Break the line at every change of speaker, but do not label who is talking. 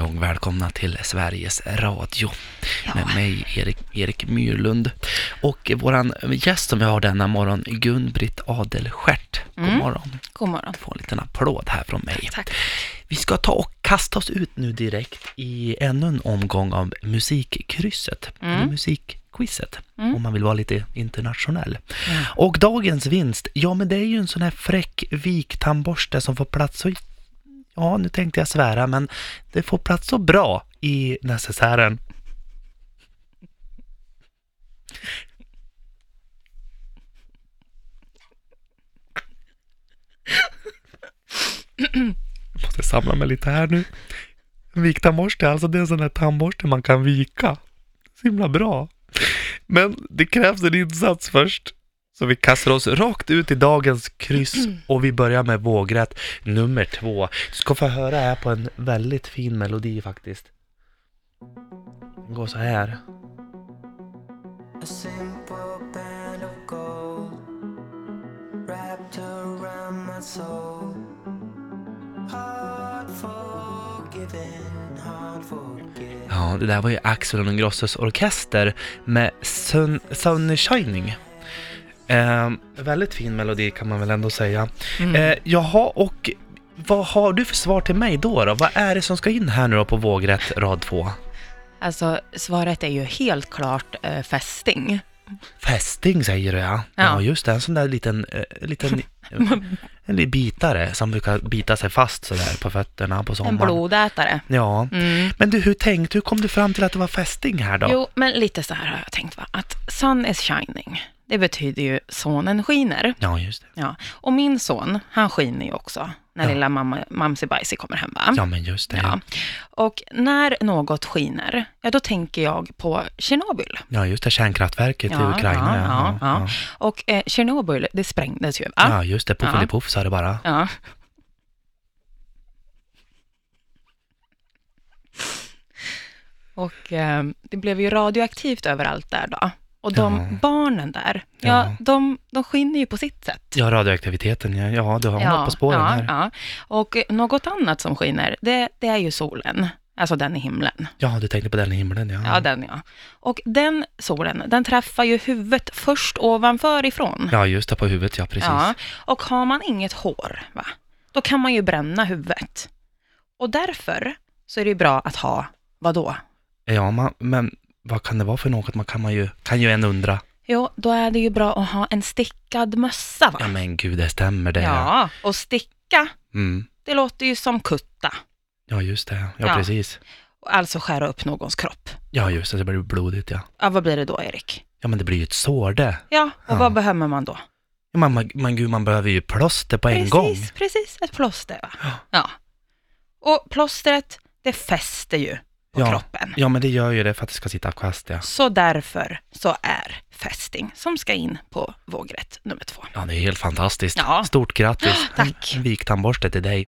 välkomna till Sveriges Radio med mig Erik, Erik Myrlund och våran gäst som vi har denna morgon Gun-Britt Adelstjärt. God
Mm.
morgon.
God morgon.
Få en liten applåd här från mig.
Tack.
Vi ska ta och kasta oss ut nu direkt i ännu en omgång av musikkrysset,
Mm.
eller musikquizet,
Mm.
om man vill vara lite internationell.
Mm.
Och dagens vinst, ja men det är ju en sån här fräck viktandborste som får plats så, ja nu tänkte jag svära, men det får plats så bra i necessären. Jag måste samla mig lite här nu. Viktandborste, alltså det är en sån här tandborste man kan vika. Så himla bra. Men det krävs en insats först. Så vi kastar oss rakt ut i dagens kryss och vi börjar med vågrätt nummer två. Du ska få höra här på en väldigt fin melodi faktiskt. Den går så här.
A simple band of gold wrapped around my soul. Hard forgiven, hard forgiven.
Ja, det där var ju Axel och Grosses orkester med Sun, Sun Shining. Ehm, väldigt fin melodi kan man väl ändå säga.
Mm.
Eh, jaha, och vad har du för svar till mig då, då? Vad är det som ska in här nu då på vågrätt rad två?
Alltså, svaret är ju helt klart eh, fästing.
Fästing säger du ja. ja.
Ja.
just det. En sån där liten, eh, liten, en liten bitare som brukar bita sig fast sådär på fötterna på
En
sommaren.
blodätare.
Ja.
Mm.
Men du, hur tänkte, hur kom du fram till att det var fästing här då?
Jo, men lite så här har jag tänkt va, att sun is shining, det betyder ju sonen skiner.
Ja, just det.
Ja. Och min son, han skiner ju också när
Ja.
lilla mamma, mamsi bajsi kommer hem va?
Ja, men just det. Ja,
Ja. Och när något skiner, ja då tänker jag på Tjernobyl.
just det. Kärnkraftverket i Ukraina.
ja, ja, ja.
ja.
Och eh, Tjernobyl, det sprängdes ju va?
Ja, just det. Puffelipuff sa det bara.
Ja. Och eh, det blev ju radioaktivt överallt där då. Och de
Ja.
barnen där, ja,
Ja.
De, de skinner ju på sitt sätt.
Ja, radioaktiviteten. Ja, ja du har något på spåren
ja,
här.
Ja. Och eh, något annat som skiner, det, det är ju solen. Alltså den i himlen.
Ja, du tänkte på den i himlen. Ja.
Ja, den ja. Och den solen, den träffar ju huvudet först ovanför ifrån.
ja, just det. På huvudet, ja. Precis.
Ja, och har man inget hår, va? då kan man ju bränna huvudet. Och därför så är det ju bra att ha, vad då?
Eh, Ja, man, men vad kan det vara för något? Man kan, man ju, kan ju en undra.
Jo, då är det ju bra att ha en stickad mössa. Va?
Ja, men gud, det stämmer det.
Ja, och sticka,
Mm.
det låter ju som kutta.
Ja, just det. Ja,
Ja.
precis.
Alltså skära upp någons kropp.
Ja, just det. Det blir blodigt, ja.
Ja, vad blir det då, Erik?
Ja, men det blir ju ett sår det.
Ja, och
Ja.
vad behöver man då?
Ja, man, man, man, gud, man behöver ju plåster på en
precis,
gång.
precis, ett plåster. Va? Ja. Och plåstret, det fäster ju på
Ja.
kroppen.
Ja, men det gör ju det för att det ska sitta fast, ja.
Så därför så är fästing som ska in på vågrätt nummer två.
Ja, det är helt fantastiskt.
Ja.
Stort grattis.
Tack.
En Viktandborste till dig.